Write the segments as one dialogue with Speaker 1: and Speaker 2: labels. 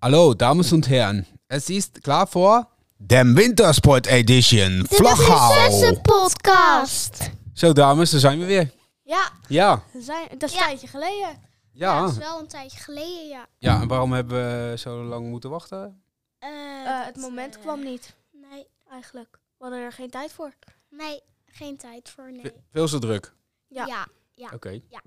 Speaker 1: Hallo, Damen und Herren. Es ist klar vor.
Speaker 2: Dem Wintersport Edition Vlaghout.
Speaker 3: podcast.
Speaker 1: Zo, dames, daar zijn we weer.
Speaker 4: Ja,
Speaker 1: Ja,
Speaker 4: we zijn, dat is
Speaker 3: Ja.
Speaker 4: een tijdje geleden.
Speaker 3: Dat
Speaker 1: ja.
Speaker 3: is wel een tijdje geleden, ja.
Speaker 1: Ja, en waarom hebben we zo lang moeten wachten?
Speaker 4: Eh, het moment kwam niet,
Speaker 3: Nee, ah,
Speaker 4: eigenlijk. We hadden er geen tijd voor.
Speaker 3: nee, geen tijd voor, nee.
Speaker 1: Veel zo druk.
Speaker 4: Ja.
Speaker 3: Ja,
Speaker 1: Oké.
Speaker 3: Ja.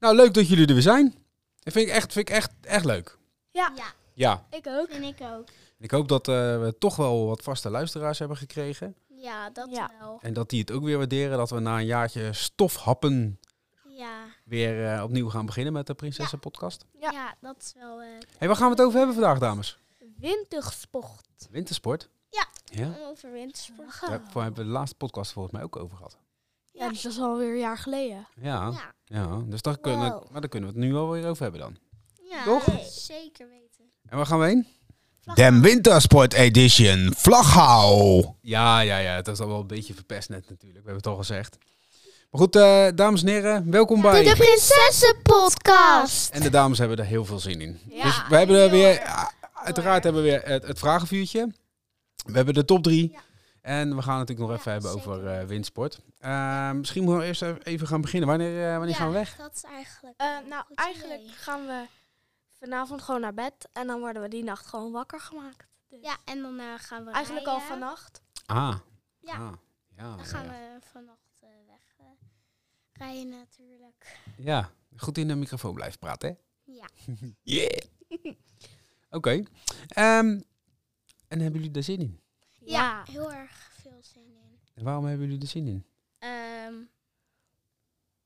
Speaker 1: Nou, leuk dat jullie er weer zijn. Dat vind ik echt, vind ik echt, echt leuk.
Speaker 4: Ja,
Speaker 3: ja,
Speaker 1: Ja.
Speaker 4: ik ook.
Speaker 3: vind ik ook.
Speaker 1: Ik hoop dat eh, we toch wel wat vaste luisteraars hebben gekregen.
Speaker 3: Ja, dat
Speaker 4: Ja.
Speaker 3: wel.
Speaker 1: En dat die het ook weer waarderen dat we na een jaartje stofhappen
Speaker 3: Ja,
Speaker 1: weer eh, opnieuw gaan beginnen met de Prinsessen Podcast.
Speaker 3: ja.
Speaker 4: Ja.
Speaker 3: dat is wel... eh,
Speaker 1: hey, waar gaan we het over hebben vandaag, dames?
Speaker 4: Wintersport.
Speaker 1: Wintersport.
Speaker 3: Ja.
Speaker 1: Ja.
Speaker 3: over wintersport.
Speaker 1: Daar hebben we hebben we de laatste podcast volgens mij ook over gehad.
Speaker 4: Ja, dus dat is alweer een jaar geleden.
Speaker 1: Ja.
Speaker 3: Ja,
Speaker 1: Ja, dus daar kunnen,
Speaker 4: Wow.
Speaker 1: maar daar kunnen we het nu alweer over hebben dan.
Speaker 3: ja
Speaker 1: Toch?
Speaker 3: zeker weten.
Speaker 1: En waar gaan we heen?
Speaker 2: Dem Wintersport Edition Vlaghout.
Speaker 1: Ja, ja, ja. Het is al wel een beetje verpest net natuurlijk. We hebben het al gezegd. Maar goed, eh, dames en heren, welkom bij.
Speaker 3: Prinsessenpodcast.
Speaker 1: En de dames hebben er heel veel zin in.
Speaker 4: Ja,
Speaker 1: dus we hebben er
Speaker 3: heel
Speaker 1: weer,
Speaker 3: erg.
Speaker 1: ja, uiteraard hebben we weer het, het vragenvuurtje. We hebben de top drie.
Speaker 3: Ja.
Speaker 1: En we gaan het natuurlijk nog
Speaker 3: Ja,
Speaker 1: even hebben
Speaker 3: zeker.
Speaker 1: over eh, windsport. Eh, misschien moeten we eerst even gaan beginnen. Wanneer, eh, wanneer gaan we weg?
Speaker 3: dat is eigenlijk...
Speaker 4: Eh,
Speaker 3: wel een
Speaker 4: nou,
Speaker 3: goed
Speaker 4: eigenlijk
Speaker 3: idee.
Speaker 4: gaan we vanavond gewoon naar bed. En dan worden we die nacht gewoon wakker gemaakt. Dus
Speaker 3: Ja, en dan eh, gaan we
Speaker 4: Eigenlijk al
Speaker 3: rijden.
Speaker 4: vannacht.
Speaker 1: Ah.
Speaker 3: Ja.
Speaker 1: Ah. Ja,
Speaker 3: Dan gaan we vannacht eh, weg eh, rijden natuurlijk.
Speaker 1: Ja, goed in de microfoon blijven praten, hè?
Speaker 3: Ja.
Speaker 1: Yeah! Oké. ehm, en hebben jullie daar zin in?
Speaker 3: Ja, heel erg veel zin in.
Speaker 1: En waarom hebben jullie er zin in?
Speaker 3: Ehm,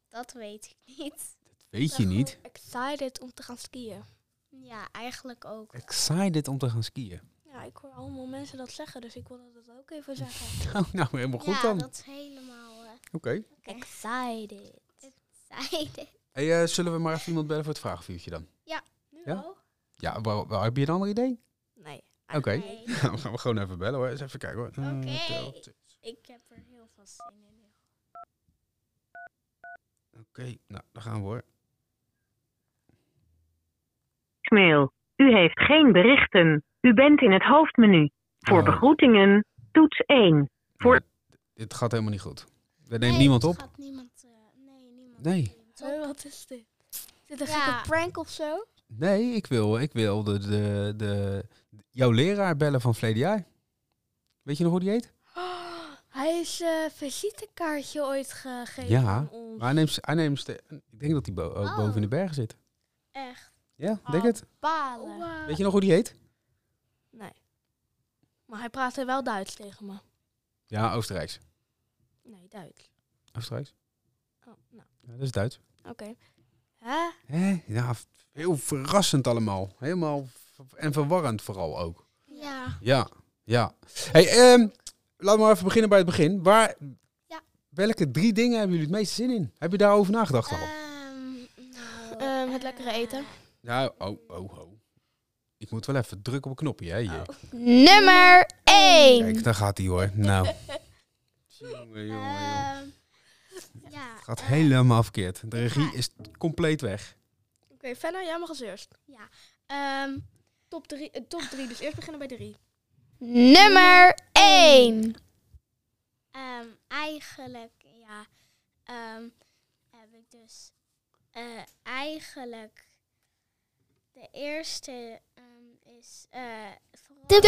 Speaker 3: dat weet ik niet.
Speaker 1: Weet je niet.
Speaker 4: Excited om te gaan skiën.
Speaker 3: Ja, eigenlijk ook.
Speaker 1: Excited om te gaan skiën.
Speaker 4: Ja, ik hoor allemaal mensen dat zeggen, dus ik wilde dat ook even zeggen.
Speaker 1: Oh, nou, helemaal goed
Speaker 3: ja,
Speaker 1: dan.
Speaker 3: dat is helemaal... eh
Speaker 1: Oké.
Speaker 3: Oké.
Speaker 4: Excited.
Speaker 3: zijde.
Speaker 1: Hey, eh, zullen we maar even iemand bellen voor het vragenvuurtje dan?
Speaker 4: Nu
Speaker 1: Ja?
Speaker 4: al?
Speaker 1: Ja, waar, waar- heb je een ander idee?
Speaker 4: Nee.
Speaker 1: Oké.
Speaker 3: Nee,
Speaker 1: Dan gaan we gewoon even bellen hoor. Eens even kijken hoor. Eh,
Speaker 3: Oké.
Speaker 1: tel- t-
Speaker 3: ik heb er heel veel zin in.
Speaker 1: Oké, nou, daar gaan we hoor.
Speaker 5: Mail. U heeft geen berichten. U bent in het hoofdmenu. Voor
Speaker 1: Oh.
Speaker 5: begroetingen, toets 1. Voor-
Speaker 1: Nee, d- dit gaat helemaal niet goed. Daar neemt niemand
Speaker 3: het
Speaker 1: op.
Speaker 3: Gaat niemand, eh, nee, niemand
Speaker 1: Nee.
Speaker 3: neemt op.
Speaker 4: Hé, wat is dit? Is dit een
Speaker 3: Ja.
Speaker 4: gekke prank of zo?
Speaker 1: Nee, ik wil, ik wil de, de, de, jouw leraar bellen van verleden jaar. Weet je nog hoe die heet?
Speaker 4: Oh, hij is eh visitekaartje ooit gegeven
Speaker 1: Ja,
Speaker 4: aan ons.
Speaker 1: Maar hij neemt, hij neemt ste- ik denk dat hij bo- ook
Speaker 3: Oh.
Speaker 1: boven in de bergen zit.
Speaker 3: Echt. Oh.
Speaker 1: Ja, denk het.
Speaker 4: Balen.
Speaker 3: Wow.
Speaker 1: Weet je nog hoe die heet?
Speaker 4: Nee. Maar hij praatte wel Duits tegen me.
Speaker 1: Ja, Oostenrijks.
Speaker 4: Nee, Duits.
Speaker 1: Oostenrijks?
Speaker 4: Oh, nou,
Speaker 1: Ja, dat is Duits.
Speaker 4: oké. Hè?
Speaker 1: Hè? Ja, f- heel verrassend allemaal. Helemaal v- en verwarrend vooral ook.
Speaker 3: Ja.
Speaker 1: Ja, ja. Hey, ehm, laten we maar even beginnen bij het begin. Waar,
Speaker 3: Ja.
Speaker 1: Welke drie dingen hebben jullie het meeste zin in? Heb je daarover nagedacht al?
Speaker 3: Ehm, nou,
Speaker 4: Ehm, het
Speaker 3: eh,
Speaker 4: lekkere eten.
Speaker 1: Nou, oh, oh, oh. Ik moet wel even drukken op een knopje, hè, hier.
Speaker 4: Nummer 1.
Speaker 1: Kijk, daar gaat hij hoor. Nou. jongen, jongen, jongen.
Speaker 3: ehm, ja.
Speaker 1: Het gaat
Speaker 3: eh,
Speaker 1: helemaal verkeerd. De regie is compleet weg.
Speaker 4: Oké, Fenna, jij mag als eerst.
Speaker 3: ehm,
Speaker 4: Top 3, top 3, dus eerst beginnen bij 3.
Speaker 3: Nummer 1. Ehm, eigenlijk, ja. ehm, heb ik dus eh, eigenlijk. De eerste ehm, is. de,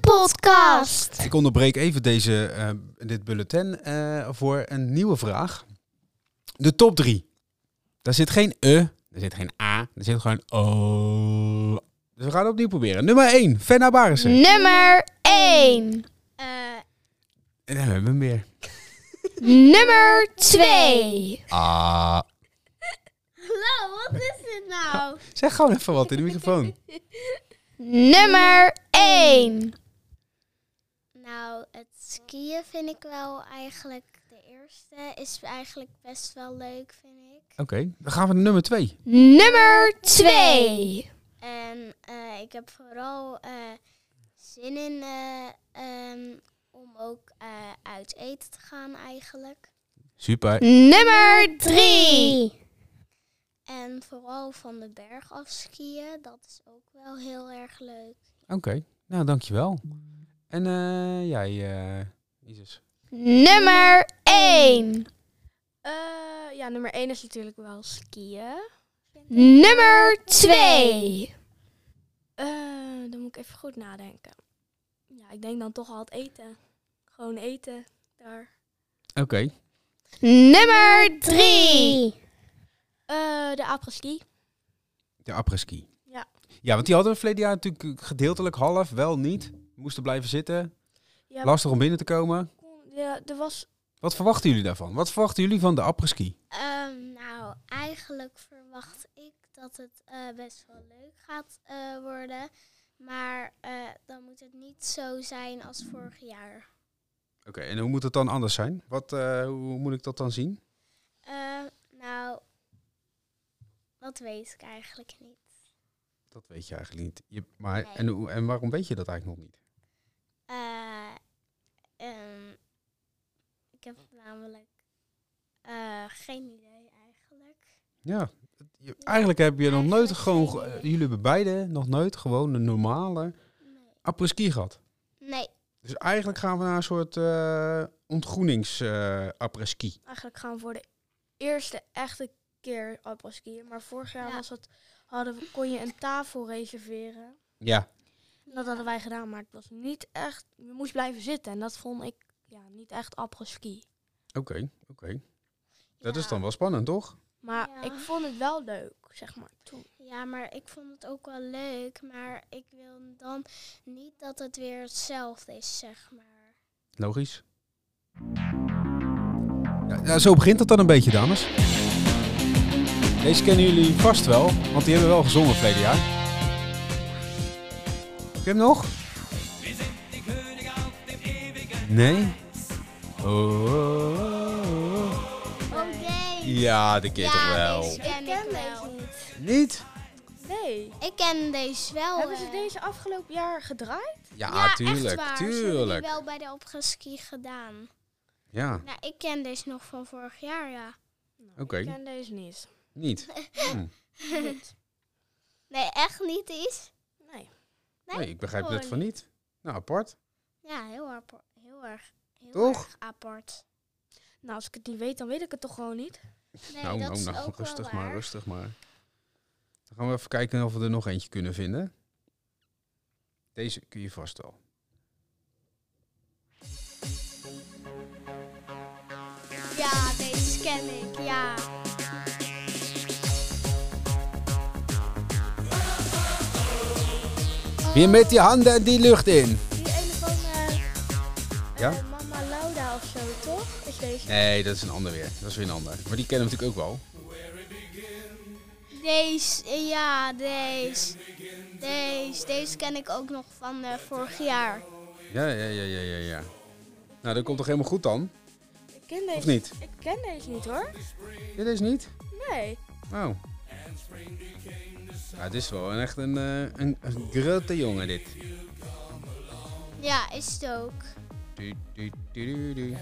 Speaker 3: Prinsessenpodcast.
Speaker 1: Ik onderbreek even deze, eh, dit bulletin eh, voor een nieuwe vraag. De top drie. Daar zit geen E, er zit geen A, er zit gewoon O. Dus we gaan het opnieuw proberen. Nummer 1, Fenna Barissen.
Speaker 3: Nummer 1. Eh,
Speaker 1: En dan hebben we hem weer.
Speaker 3: nummer 2.
Speaker 1: Ah.
Speaker 3: Hallo, wat is dit nou?
Speaker 1: Zeg gewoon even wat in de microfoon.
Speaker 3: Nummer 1. Nou, het skiën vind ik wel eigenlijk de eerste. Is eigenlijk best wel leuk, vind ik.
Speaker 1: Oké, dan gaan we naar nummer 2.
Speaker 3: Nummer 2. En eh, ik heb vooral eh, zin in eh, ehm, om ook eh, uit eten te gaan eigenlijk.
Speaker 1: Super.
Speaker 3: Nummer 3. En vooral van de berg af skiën, dat is ook wel heel erg leuk.
Speaker 1: Oké, nou dankjewel.
Speaker 4: Mm.
Speaker 1: En eh, jij, eh Isis?
Speaker 3: Nummer 1.
Speaker 4: Eh, ja, nummer 1 is natuurlijk wel skiën.
Speaker 3: Nummer 2.
Speaker 4: Eh, dan moet ik even goed nadenken. Ja, ik denk dan toch al het eten. Gewoon eten daar.
Speaker 1: Oké.
Speaker 3: Nummer 3.
Speaker 4: Eh, de apres-ski.
Speaker 1: De apres-ski.
Speaker 4: Ja.
Speaker 1: Ja, want die hadden we verleden jaar natuurlijk eh, gedeeltelijk half, wel niet. We moesten blijven zitten.
Speaker 4: Ja,
Speaker 1: Lastig om binnen te komen.
Speaker 4: ja, er was
Speaker 1: Wat verwachten jullie daarvan? Wat verwachten jullie van de apres-ski?
Speaker 3: Ehm, nou, eigenlijk verwacht ik dat het eh, best wel leuk gaat eh, worden. Maar eh, dan moet het niet zo zijn als vorig jaar.
Speaker 1: Oké, en hoe moet het dan anders zijn? Wat, eh, hoe moet ik dat dan zien?
Speaker 3: Eh, nou, dat weet ik eigenlijk niet.
Speaker 1: Dat weet je eigenlijk niet. Je, maar,
Speaker 3: Nee.
Speaker 1: en, hoe- en waarom weet je dat eigenlijk nog niet?
Speaker 3: Eh, ehm, ik heb namelijk eh, geen idee eigenlijk.
Speaker 1: Ja, je- eigenlijk heb je nog nooit
Speaker 3: eigenlijk
Speaker 1: gewoon...
Speaker 3: geen
Speaker 1: ge-
Speaker 3: idee.
Speaker 1: jullie hebben beide nog nooit gewoon een normale
Speaker 3: Nee.
Speaker 1: apres-ski gehad.
Speaker 3: Nee,
Speaker 1: Dus eigenlijk gaan we naar een soort eh ontgroenings eh, apres-ski.
Speaker 4: eigenlijk gaan we voor de eerste echte keer apres-skiën. Maar vorig jaar
Speaker 3: Ja.
Speaker 4: was het, hadden, we- kon je een tafel reserveren.
Speaker 1: Ja.
Speaker 4: Dat hadden wij gedaan, maar het was niet echt... Je moest blijven zitten en dat vond ik ja, niet echt apres-ski.
Speaker 1: Oké, oké. Dat is
Speaker 3: Ja.
Speaker 1: dan wel spannend, toch?
Speaker 4: Maar
Speaker 3: Ja.
Speaker 4: ik vond het wel leuk, zeg maar, toen.
Speaker 3: Ja, maar ik vond het ook wel leuk. Maar ik wil dan niet dat het weer hetzelfde is, zeg maar.
Speaker 1: Logisch. Ja, nou, zo begint het dan een beetje, dames. Deze kennen jullie vast wel, want die hebben we wel gezongen verleden jaar. Heb je hem nog? Nee? Oh, oh, oh, oh.
Speaker 3: Oké.
Speaker 1: Ja, dat kent
Speaker 3: Ja,
Speaker 1: toch wel.
Speaker 3: deze ken ik wel.
Speaker 4: niet.
Speaker 1: Niet?
Speaker 4: Nee.
Speaker 3: Ik ken deze wel.
Speaker 4: Hebben ze
Speaker 3: eh.
Speaker 4: deze afgelopen jaar gedraaid?
Speaker 1: Ja,
Speaker 3: Ja, echt
Speaker 1: tuurlijk,
Speaker 3: waar. Ze hebben die
Speaker 1: tuurlijk.
Speaker 3: wel bij de opgeski gedaan.
Speaker 1: Ja,
Speaker 3: Nou, ik ken deze nog van vorig jaar, ja.
Speaker 1: oké.
Speaker 4: Ik ken deze niet.
Speaker 1: Niet. Hm.
Speaker 4: Niet.
Speaker 3: Nee, echt niet Oh, is.
Speaker 4: Nee.
Speaker 3: Nee,
Speaker 1: Nee, ik begrijp
Speaker 3: gewoon
Speaker 1: het van niet. Nou, apart.
Speaker 3: Ja, heel, apart, heel erg. Heel
Speaker 1: Toch?
Speaker 3: erg apart.
Speaker 4: Nou, als ik het niet weet, dan weet ik het toch gewoon niet.
Speaker 3: Nee,
Speaker 1: nou,
Speaker 3: dat
Speaker 1: nou,
Speaker 3: is
Speaker 1: nou,
Speaker 3: ook
Speaker 1: rustig
Speaker 3: wel
Speaker 1: maar,
Speaker 3: waar.
Speaker 1: rustig maar. Dan gaan we even kijken of we er nog eentje kunnen vinden. Deze kun je vast wel.
Speaker 3: Ja, deze ken ik, ja.
Speaker 1: Weer met die handen en die lucht in.
Speaker 4: Die ene van eh,
Speaker 1: Ja?
Speaker 4: mama Lauda of zo, toch? Is deze?
Speaker 1: Nee, dat is een ander weer. Dat is weer een ander. Maar die kennen we natuurlijk ook wel.
Speaker 3: Deze, eh, ja, deze. Deze, deze ken ik ook nog van eh, vorig jaar.
Speaker 1: Ja, ja, ja, ja, ja, ja. Nou, dat komt toch helemaal goed dan?
Speaker 4: Ik ken deze.
Speaker 1: Of niet?
Speaker 4: Ik ken deze niet hoor.
Speaker 1: Dit is niet?
Speaker 4: Nee.
Speaker 1: Oh. Ja, dit is wel een, echt een, eh, een, een grote jongen dit.
Speaker 3: Ja, is het ook.
Speaker 1: Du, du, du, du, du.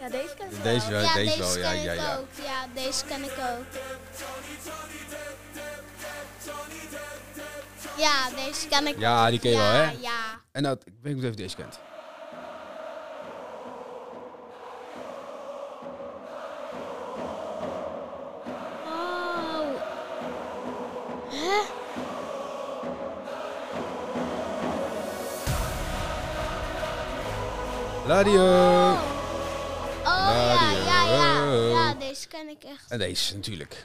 Speaker 4: Ja, deze ken ik
Speaker 1: Deze wel,
Speaker 3: ja,
Speaker 1: deze,
Speaker 3: deze
Speaker 1: wel. Ja,
Speaker 3: ken
Speaker 1: ja,
Speaker 3: ik
Speaker 1: ja.
Speaker 3: ook. Ja, deze ken ik ook. Ja, deze ken ik
Speaker 1: Ja, die ken je
Speaker 3: ja,
Speaker 1: wel, hè?
Speaker 3: Ja,
Speaker 1: En nou, ik weet niet of je deze kent.
Speaker 3: Oh.
Speaker 1: Radio. Eh.
Speaker 3: Oh ja,
Speaker 1: Radio.
Speaker 3: ja, ja. Ja, deze ken ik echt.
Speaker 1: En deze natuurlijk.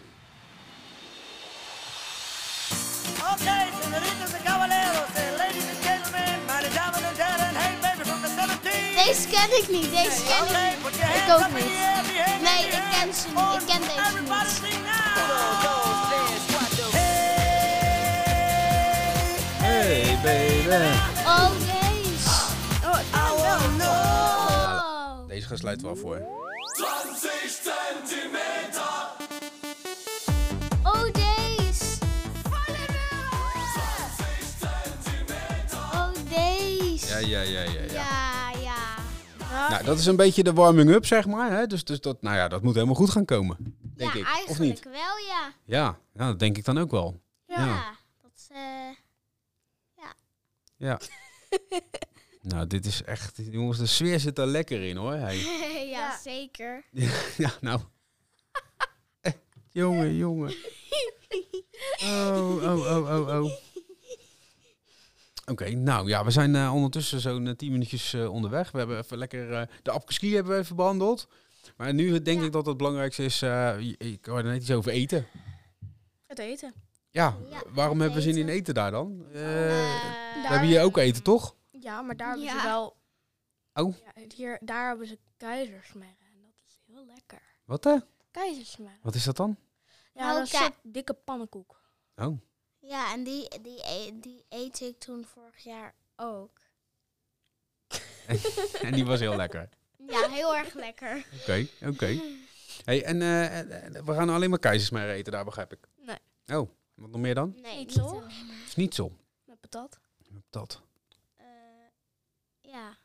Speaker 6: Okay, senoritas and caballeros, and ladies and gentlemen, meine Damen und Herren, hey baby from the 17.
Speaker 3: Deze ken ik niet, deze ken ik
Speaker 6: Okay,
Speaker 3: niet.
Speaker 6: put your
Speaker 3: Ik
Speaker 6: hands
Speaker 3: ook
Speaker 6: up in
Speaker 3: niet.
Speaker 6: the air, if you have
Speaker 3: Nee,
Speaker 6: your
Speaker 3: ik ken
Speaker 6: hands
Speaker 3: ze niet. Ik ken
Speaker 6: on.
Speaker 3: deze niet.
Speaker 6: Everybody sing now.
Speaker 1: Hey baby.
Speaker 3: Oh, deze. Oh.
Speaker 1: Deze gaan sluiten we af voor.
Speaker 3: Oh, deze. Oh, deze.
Speaker 1: Ja, ja, ja, ja. ja.
Speaker 3: Oh, Ja, ja.
Speaker 4: Ja.
Speaker 1: Nou, dat is een beetje de warming-up, zeg maar. Hè? Dus, dus dat, nou ja, dat moet helemaal goed gaan komen. Denk
Speaker 3: ja,
Speaker 1: ik.
Speaker 3: eigenlijk
Speaker 1: Of niet?
Speaker 3: wel, ja.
Speaker 1: Ja, nou, dat denk ik dan ook wel.
Speaker 3: Ja.
Speaker 1: Ja.
Speaker 3: Dat is, eh,
Speaker 1: Ja. nou, dit is echt... Jongens, de sfeer zit er lekker in, hoor. Hey.
Speaker 3: ja,
Speaker 4: Ja.
Speaker 3: zeker.
Speaker 1: Ja, nou. Eh, jongen, jongen. Oh, oh, oh, oh, oh. Oké, nou ja, we zijn eh, ondertussen zo'n eh, 10 minuutjes eh, onderweg. We hebben even lekker eh, de apkeski hebben we even behandeld. Maar nu denk ik dat het belangrijkste is, eh, je- ik hoorde net iets over eten.
Speaker 4: Het eten.
Speaker 1: Ja,
Speaker 3: Ja,
Speaker 1: waarom hebben we zin in
Speaker 3: eten.
Speaker 1: eten daar dan? Eh,
Speaker 3: Eh,
Speaker 1: we hebben hier ook eten, toch?
Speaker 4: Ja, maar daar hebben
Speaker 3: Ja.
Speaker 4: ze wel...
Speaker 1: Oh.
Speaker 4: Ja, hier, daar hebben ze keizersmerren. En dat is heel lekker.
Speaker 1: Wat hè?
Speaker 4: Keizersmerren.
Speaker 1: Wat is dat dan?
Speaker 4: Ja,
Speaker 3: Nou,
Speaker 4: dat is een
Speaker 3: kijk.
Speaker 4: soort dikke pannenkoek.
Speaker 1: Oh,
Speaker 3: Ja, en die, die, e- die eet ik toen vorig jaar ook.
Speaker 1: en die was heel lekker.
Speaker 3: Ja, heel erg lekker.
Speaker 1: Oké, oké. Hey, en eh, eh, we gaan alleen maar keizersmerren eten daar, begrijp ik.
Speaker 4: Nee.
Speaker 1: Oh, wat nog meer dan?
Speaker 3: Nee,
Speaker 4: Niet
Speaker 3: niet
Speaker 4: zo?
Speaker 3: zo.
Speaker 1: Schnitzel.
Speaker 4: Met patat.
Speaker 1: Dat.
Speaker 3: Eh, ja.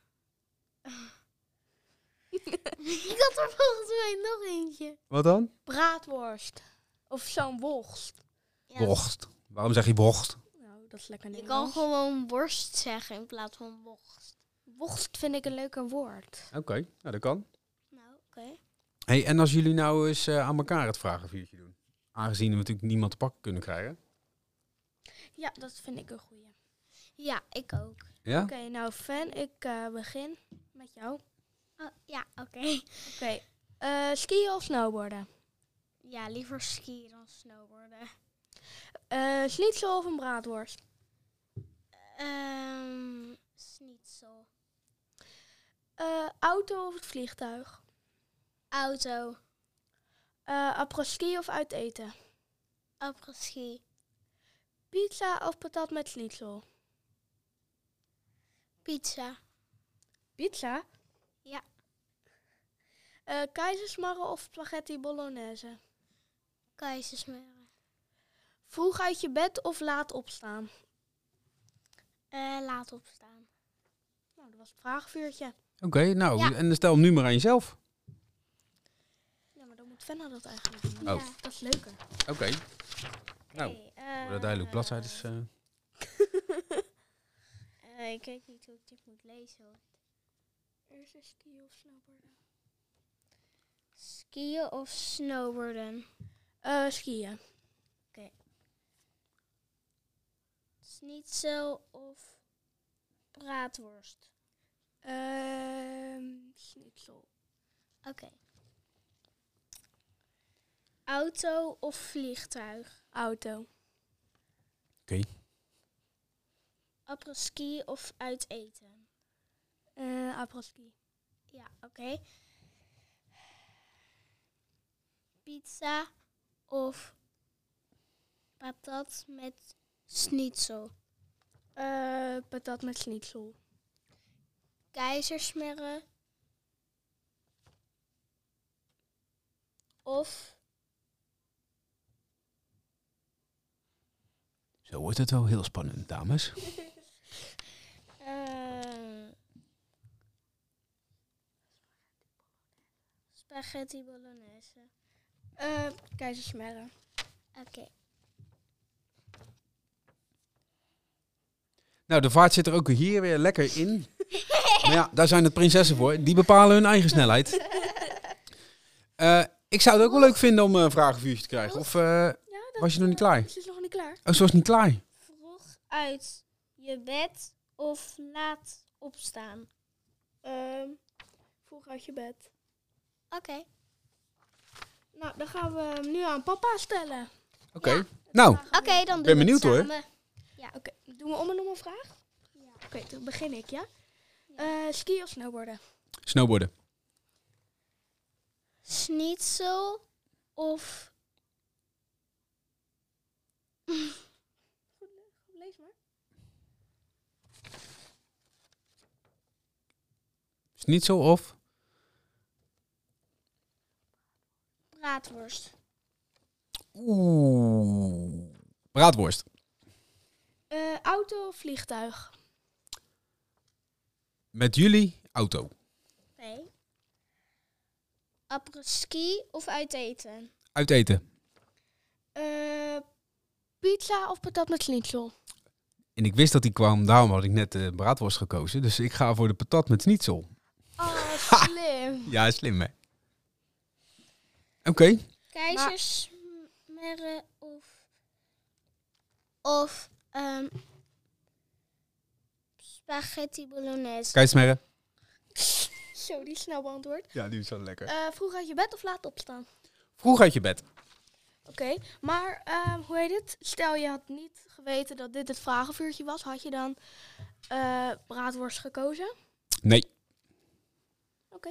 Speaker 3: ik had er volgens mij nog eentje.
Speaker 1: Wat dan?
Speaker 4: Braadworst. Of zo'n wolst.
Speaker 3: Ja,
Speaker 1: Bocht. Waarom zeg je bocht?
Speaker 4: Nou, dat is lekker
Speaker 3: Je kan
Speaker 4: Nederlands.
Speaker 3: gewoon worst zeggen in plaats van bocht.
Speaker 4: Worst vind ik een leuker woord.
Speaker 1: Oké, nou dat kan.
Speaker 3: Nou, oké.
Speaker 1: Hey, en als jullie nou eens eh, aan elkaar het vragenvuurtje doen? Aangezien we natuurlijk niemand te pakken kunnen krijgen.
Speaker 4: Ja, dat vind ik een goeie.
Speaker 3: Ja, ik ook.
Speaker 1: Ja?
Speaker 4: Oké, nou Fan, ik eh, begin met jou.
Speaker 3: Oh, ja, oké.
Speaker 4: Oké, eh, skiën of snowboarden?
Speaker 3: Ja, liever skiën dan snowboarden.
Speaker 4: Eh schnitzel of een braadworst?
Speaker 3: Ehm, schnitzel.
Speaker 4: Eh, auto of het vliegtuig?
Speaker 3: Auto.
Speaker 4: Eh ski of uit eten?
Speaker 3: Après-ski.
Speaker 4: Pizza of patat met schnitzel?
Speaker 3: Pizza.
Speaker 4: Pizza?
Speaker 3: Ja.
Speaker 4: Eh keizersmarren of spaghetti bolognese?
Speaker 3: Keizersmeren.
Speaker 4: Vroeg uit je bed of laat opstaan?
Speaker 3: Eh, laat opstaan.
Speaker 4: Nou, dat was het vraagvuurtje.
Speaker 1: Oké, nou,
Speaker 3: Ja.
Speaker 1: en dan stel hem nu maar aan jezelf.
Speaker 4: Ja, maar dan moet Fenna dat eigenlijk doen.
Speaker 1: Oh.
Speaker 4: Ja, dat is leuker.
Speaker 1: Oké. Nou,
Speaker 3: Oké,
Speaker 1: worden
Speaker 3: eh,
Speaker 1: duidelijk bladzijdes. eh.
Speaker 3: eh, ik weet niet hoe ik dit moet lezen. hoor.
Speaker 4: Eerst is skiën of snowboarden?
Speaker 3: Skiën of snowboarden?
Speaker 4: Eh skiën.
Speaker 3: Schnitzel of braadworst?
Speaker 4: Ehm schnitzel.
Speaker 3: Oké. Auto of vliegtuig?
Speaker 4: Auto.
Speaker 3: Après-ski of uit eten?
Speaker 4: Eh apres-ski.
Speaker 3: Ja, oké. Pizza of patat met schnitzel.
Speaker 4: Eh, patat met schnitzel.
Speaker 3: Keizersmerren. Of
Speaker 1: Zo wordt het wel heel spannend, dames.
Speaker 3: eh, spaghetti bolognese. Ehm,
Speaker 4: Eh keizersmerren.
Speaker 3: Oké.
Speaker 1: Nou, de vaart zit er ook hier weer lekker in. maar ja, daar zijn het prinsessen voor. Die bepalen hun eigen snelheid. Eh, ik zou het ook wel leuk vinden om eh, een vragenvuurtje te krijgen. Of eh,
Speaker 4: Ja, dat
Speaker 1: was je nog niet klaar?
Speaker 4: Ze is dus nog niet klaar.
Speaker 1: Oh, ze was niet klaar.
Speaker 3: Vroeg uit je bed of laat opstaan.
Speaker 4: Ehm, vroeg uit je bed.
Speaker 3: Oké.
Speaker 4: Nou, dan gaan we hem nu aan papa stellen.
Speaker 1: Oké. Nou,
Speaker 3: Oké, dan doen
Speaker 1: ben
Speaker 3: we
Speaker 1: benieuwd,
Speaker 3: het
Speaker 1: hoor.
Speaker 3: samen.
Speaker 4: Oké, doen we om en om een vraag?
Speaker 3: Ja.
Speaker 4: Oké, dan begin ik, ja? Eh ski of snowboarden?
Speaker 1: snowboarden.
Speaker 3: Schnitzel of
Speaker 4: Lees maar.
Speaker 1: Is niet zo of?
Speaker 3: braadworst.
Speaker 1: Oeh. Braadworst.
Speaker 4: Eh, auto of vliegtuig?
Speaker 1: Met jullie auto.
Speaker 3: Nee. Apres-ski of uit eten?
Speaker 1: Uit eten.
Speaker 3: Ehm,
Speaker 4: Eh, pizza of patat met schnitzel?
Speaker 1: En ik wist dat die kwam, daarom had ik net de braadworst gekozen. Dus ik ga voor de patat met schnitzel.
Speaker 4: Oh, slim.
Speaker 1: Ja, slim hè. Oké.
Speaker 3: Keizersmerre of... Of ehm, spaghetti bolognese.
Speaker 1: Keizersmerre.
Speaker 4: Zo, die is snel beantwoord.
Speaker 1: Ja, die is wel lekker.
Speaker 4: Eh, vroeg uit je bed of laat opstaan?
Speaker 1: Vroeg uit je bed.
Speaker 4: Oké, maar ehm, hoe heet het? Stel je had niet geweten dat dit het vragenvuurtje was, had je dan eh braadworst gekozen?
Speaker 1: Nee.
Speaker 4: Oké,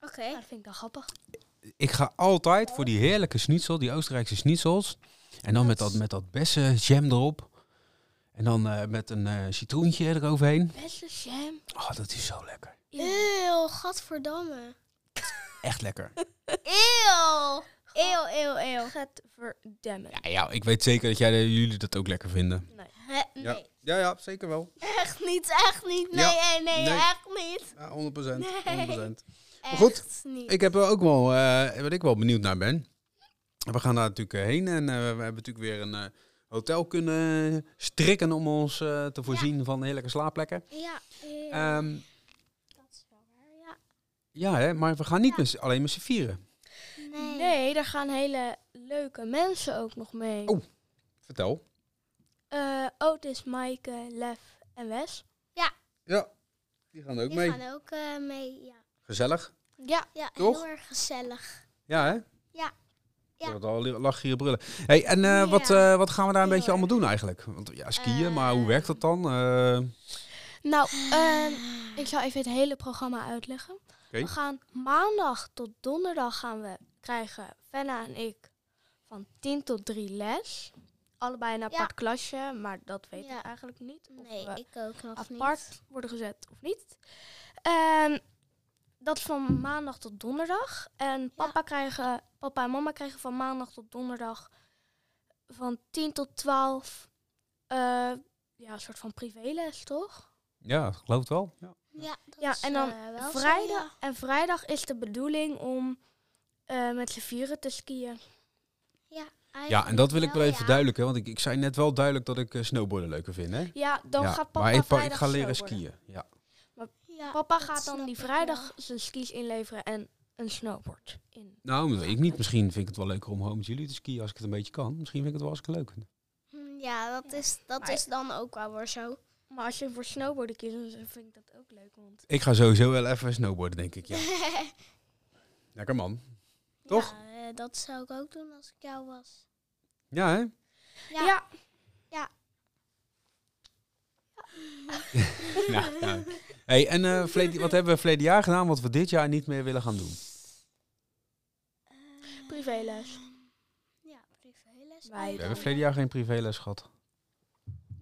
Speaker 3: Oké.
Speaker 4: nou, dat vind ik dan grappig.
Speaker 1: Ik ga altijd voor die heerlijke schnitzel, die Oostenrijkse schnitzels. En dan met dat, met dat bessen jam erop. En dan eh, met een eh, citroentje eroverheen.
Speaker 4: Beste jam.
Speaker 1: Oh, dat is zo lekker.
Speaker 3: Eeuw, gadverdamme.
Speaker 1: Echt lekker.
Speaker 3: Eeuw. Eeuw, eeuw, eeuw.
Speaker 4: Get verdemmen.
Speaker 1: Ja, ja ik weet zeker dat jij, jullie dat ook lekker vinden.
Speaker 3: Hè, nee.
Speaker 1: ja, ja zeker wel.
Speaker 3: Echt niet, echt niet. Nee,
Speaker 1: Ja,
Speaker 3: nee, nee,
Speaker 1: nee.
Speaker 3: echt niet.
Speaker 1: Ja, 100%.
Speaker 3: Nee.
Speaker 1: 100%. goed,
Speaker 3: Echt niet.
Speaker 1: Ik heb er ook wel, eh, wat ik wel benieuwd naar ben. We gaan daar natuurlijk heen en eh, we hebben natuurlijk weer een eh, hotel kunnen strikken om ons eh, te voorzien van heerlijke slaapplekken.
Speaker 3: Ja, ja.
Speaker 1: Ehm,
Speaker 3: dat is wel waar, ja.
Speaker 1: ja, hè, maar we gaan niet met z'n- alleen met z'n vieren.
Speaker 3: Nee.
Speaker 4: Nee, daar gaan hele leuke mensen ook nog mee.
Speaker 1: Oh. Vertel.
Speaker 4: Eh, Otis, Maaike, Lef en Wes.
Speaker 1: Ja, die gaan ook
Speaker 3: Die
Speaker 1: mee.
Speaker 3: gaan ook eh, mee, ja.
Speaker 1: Gezellig.
Speaker 4: Ja,
Speaker 3: Ja,
Speaker 1: Toch?
Speaker 3: heel erg gezellig.
Speaker 1: Ja, hè?
Speaker 3: Ja. Ja.
Speaker 1: Dat al lachen hier brullen. Hey, en eh, wat,
Speaker 3: Ja.
Speaker 1: eh, wat gaan we daar een
Speaker 3: Heel
Speaker 1: beetje allemaal
Speaker 3: erg.
Speaker 1: doen eigenlijk? Want ja, skiën,
Speaker 3: Eh.
Speaker 1: maar hoe werkt dat dan? Eh,
Speaker 4: nou, ehm, ik zal even het hele programma uitleggen.
Speaker 1: Oké.
Speaker 4: We gaan maandag tot donderdag gaan we krijgen, Fenna en ik, van 10 tot 3 les. Allebei een apart klasje, maar dat weet
Speaker 3: Ja.
Speaker 4: ik eigenlijk niet. Of
Speaker 3: Nee,
Speaker 4: we
Speaker 3: ik ook nog
Speaker 4: apart worden gezet of niet. Ehm, dat is van maandag tot donderdag. En papa, krijgen, papa en mama krijgen van maandag tot donderdag van 10 tot 12 eh, ja, een soort van privéles, toch?
Speaker 1: ja, ik geloof het wel. Ja.
Speaker 3: niet. Ja, dat
Speaker 4: Ja,
Speaker 3: is,
Speaker 4: en dan
Speaker 3: eh, wel zo,
Speaker 4: vrijdag,
Speaker 3: ja.
Speaker 4: En vrijdag is de bedoeling om eh, met z'n vieren te skiën.
Speaker 1: Ja, en dat wil ik wel even
Speaker 3: duidelijk.
Speaker 1: verduidelijken, want ik, ik zei net wel duidelijk dat ik eh, snowboarden leuker vind, hè?
Speaker 4: Ja, dan
Speaker 1: ja,
Speaker 4: gaat papa
Speaker 1: maar ik, pa- ik
Speaker 4: vrijdag
Speaker 1: ga leren
Speaker 4: snowboarden.
Speaker 1: skiën. Ja.
Speaker 4: Papa gaat dan die vrijdag zijn skis inleveren en een snowboard in.
Speaker 1: Nou, dat weet ik niet. Misschien vind ik het wel leuker om gewoon met jullie te skiën als ik het een beetje kan. Misschien vind ik het wel hartstikke leuk.
Speaker 3: Hm, Ja, dat, is, dat
Speaker 4: Maar-
Speaker 3: is dan ook wel weer zo.
Speaker 4: Maar als je voor snowboarden kiest, dan vind ik dat ook leuk. Want
Speaker 1: Ik ga sowieso wel even snowboarden, denk ik. Ja. Lekker man. Toch?
Speaker 3: Ja, eh, dat zou ik ook doen als ik jou was.
Speaker 1: Ja, hè?
Speaker 3: Ja.
Speaker 1: Ja, ja. Hey, en eh, verleden- wat hebben we verleden jaar gedaan wat we dit jaar niet meer willen gaan doen?
Speaker 4: privéles.
Speaker 3: Eh, Ja, privéles.
Speaker 4: Wij
Speaker 1: We
Speaker 4: dan.
Speaker 1: hebben verleden jaar geen privéles gehad.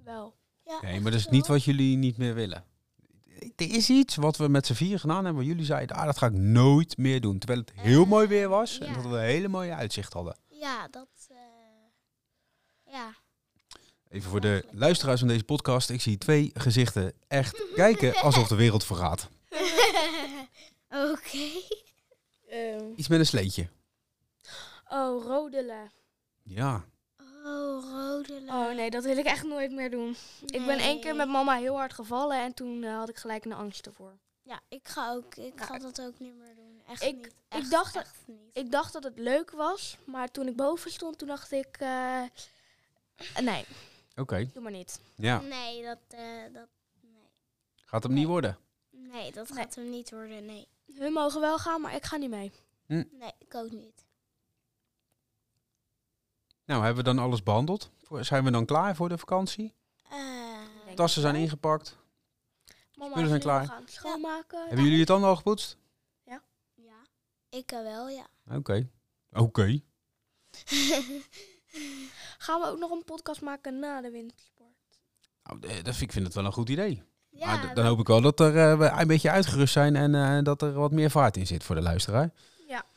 Speaker 4: Wel.
Speaker 3: Ja,
Speaker 1: Nee,
Speaker 3: echt
Speaker 1: maar dat is
Speaker 3: wel.
Speaker 1: niet wat jullie niet meer willen. Er is iets wat we met z'n vier gedaan hebben. waar Jullie zeiden, ah, dat ga ik nooit meer doen. Terwijl het heel
Speaker 3: Eh,
Speaker 1: mooi weer was en
Speaker 3: ja.
Speaker 1: dat we een hele mooie uitzicht hadden.
Speaker 3: Ja, dat... eh, ja.
Speaker 1: Even voor de luisteraars van deze podcast. Ik zie twee gezichten echt kijken alsof de wereld vergaat.
Speaker 3: Oké.
Speaker 1: Iets met een sleetje.
Speaker 4: oh, rodelen.
Speaker 1: Ja.
Speaker 3: Oh, rode
Speaker 4: Oh nee, dat wil ik echt nooit meer doen. Ik ben één keer met mama heel hard gevallen en toen eh, had ik gelijk een angst ervoor.
Speaker 3: Ja, ik ga ook. Ik
Speaker 4: Nou,
Speaker 3: ga dat ook niet meer doen. Echt
Speaker 4: ik-
Speaker 3: niet. Echt,
Speaker 4: dacht dat-
Speaker 3: echt niet.
Speaker 4: Ik dacht dat het leuk was, maar toen ik boven stond, toen dacht ik... eh, nee,
Speaker 1: Oké.
Speaker 4: doe maar niet.
Speaker 1: Ja.
Speaker 3: Nee, dat, eh, dat, nee.
Speaker 1: Gaat hem niet worden.
Speaker 3: nee, dat
Speaker 4: Nee.
Speaker 3: gaat hem niet worden. Nee.
Speaker 4: Hun mogen wel gaan, maar ik ga niet mee.
Speaker 3: Nee, ik ook niet.
Speaker 1: Nou, hebben we dan alles behandeld? Voor- Zijn we dan klaar voor de vakantie?
Speaker 3: Eh,
Speaker 4: Denk
Speaker 1: Tassen zijn
Speaker 4: ik.
Speaker 1: ingepakt.
Speaker 4: Mama,
Speaker 1: Spullen zijn
Speaker 4: jullie
Speaker 1: klaar.
Speaker 4: nog gaan schoonmaken.
Speaker 1: Hebben jullie het dan al gepoetst?
Speaker 3: ja, ik wel, ja.
Speaker 1: Oké. Oké.
Speaker 4: Gaan we ook nog een podcast maken na de wintersport?
Speaker 1: Nou, eh, dat vind, ik vind het wel een goed idee.
Speaker 3: ja
Speaker 1: maar d- dan hoop ik wel dat er, eh, we een beetje uitgerust zijn en eh, dat er wat meer vaart in zit voor de luisteraar.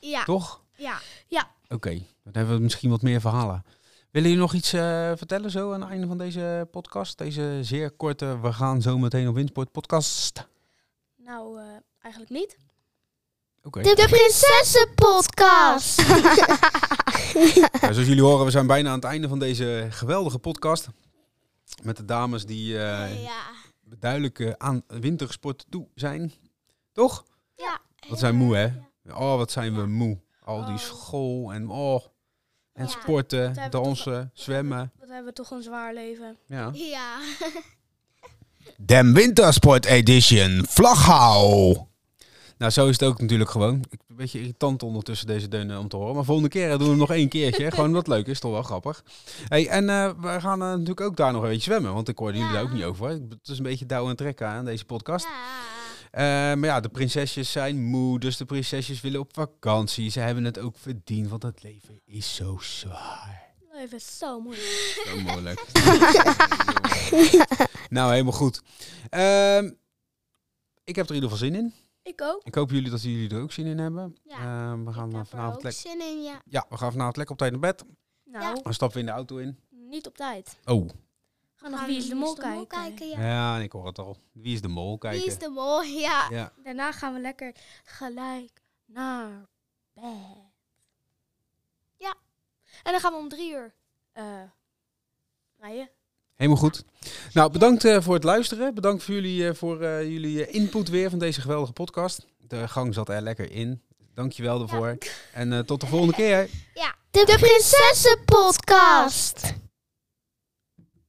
Speaker 3: ja.
Speaker 1: Toch?
Speaker 3: Ah. Ja.
Speaker 4: Ja.
Speaker 1: Oké, dan hebben we misschien wat meer verhalen. Willen jullie nog iets eh, vertellen zo aan het einde van deze podcast? Deze zeer korte We gaan zo meteen op Windsport podcast.
Speaker 4: Nou, eh, eigenlijk niet.
Speaker 1: Oké.
Speaker 3: De Prinsessenpodcast.
Speaker 1: Nou, zoals jullie horen, we zijn bijna aan het einde van deze geweldige podcast. Met de dames die eh,
Speaker 3: ja.
Speaker 1: duidelijk eh, aan wintersport toe zijn. Toch?
Speaker 3: ja.
Speaker 1: Wat zijn moe, hè? Oh, wat zijn we moe. Al die school en oh. En
Speaker 3: Ja.
Speaker 4: we
Speaker 1: sporten,
Speaker 4: toch-
Speaker 1: dansen, zwemmen.
Speaker 4: Wat hebben we toch een zwaar leven.
Speaker 1: Ja.
Speaker 3: Ja.
Speaker 2: Dem Wintersport Edition Vlaghau.
Speaker 1: Nou, zo is het ook natuurlijk gewoon. Ik ben een beetje irritant ondertussen deze deunen om te horen. Maar volgende keer eh, doen we hem nog één keertje. gewoon wat leuk is, toch wel grappig. Hey, en eh, we gaan eh, natuurlijk ook daar nog een beetje zwemmen. Want ik hoorde jullie
Speaker 3: Ja.
Speaker 1: daar ook niet over. Ik- Het is een beetje douwen en trekken aan deze podcast.
Speaker 3: Ja.
Speaker 1: Eh, maar ja, de prinsesjes zijn moe, dus de prinsesjes willen op vakantie. Ze hebben het ook verdiend, want het leven is zo zwaar.
Speaker 4: Leven is zo moeilijk.
Speaker 1: Zo moeilijk. nou, helemaal goed. Ehm, ik heb er in ieder geval zin in.
Speaker 4: Ik ook.
Speaker 1: Ik hoop jullie dat jullie er ook zin in hebben.
Speaker 3: Ja.
Speaker 1: Ehm, we gaan eh,
Speaker 3: Ik heb er
Speaker 1: vanavond
Speaker 3: ook
Speaker 1: lekker...
Speaker 3: zin in, ja.
Speaker 1: Ja, we gaan vanavond lekker op tijd naar bed.
Speaker 4: Nou,
Speaker 1: Dan stappen we in de auto in.
Speaker 4: niet op tijd.
Speaker 1: Oh.
Speaker 4: We gaan nog Wie is de Mol kijken.
Speaker 1: Ja,
Speaker 3: ja.
Speaker 1: en ik hoor het al. Wie is de mol? Kijken.
Speaker 3: Wie is de mol? Ja.
Speaker 1: Ja.
Speaker 4: Daarna gaan we lekker gelijk naar bed. Ja. En dan gaan we om drie uur eh rijden.
Speaker 1: Helemaal goed. Nou, bedankt eh, voor het luisteren. Bedankt voor jullie, eh, voor, eh, jullie eh, input weer van deze geweldige podcast. De gang zat er lekker in. Dankjewel daarvoor. En eh, tot de volgende keer.
Speaker 3: ja. De Prinsessenpodcast.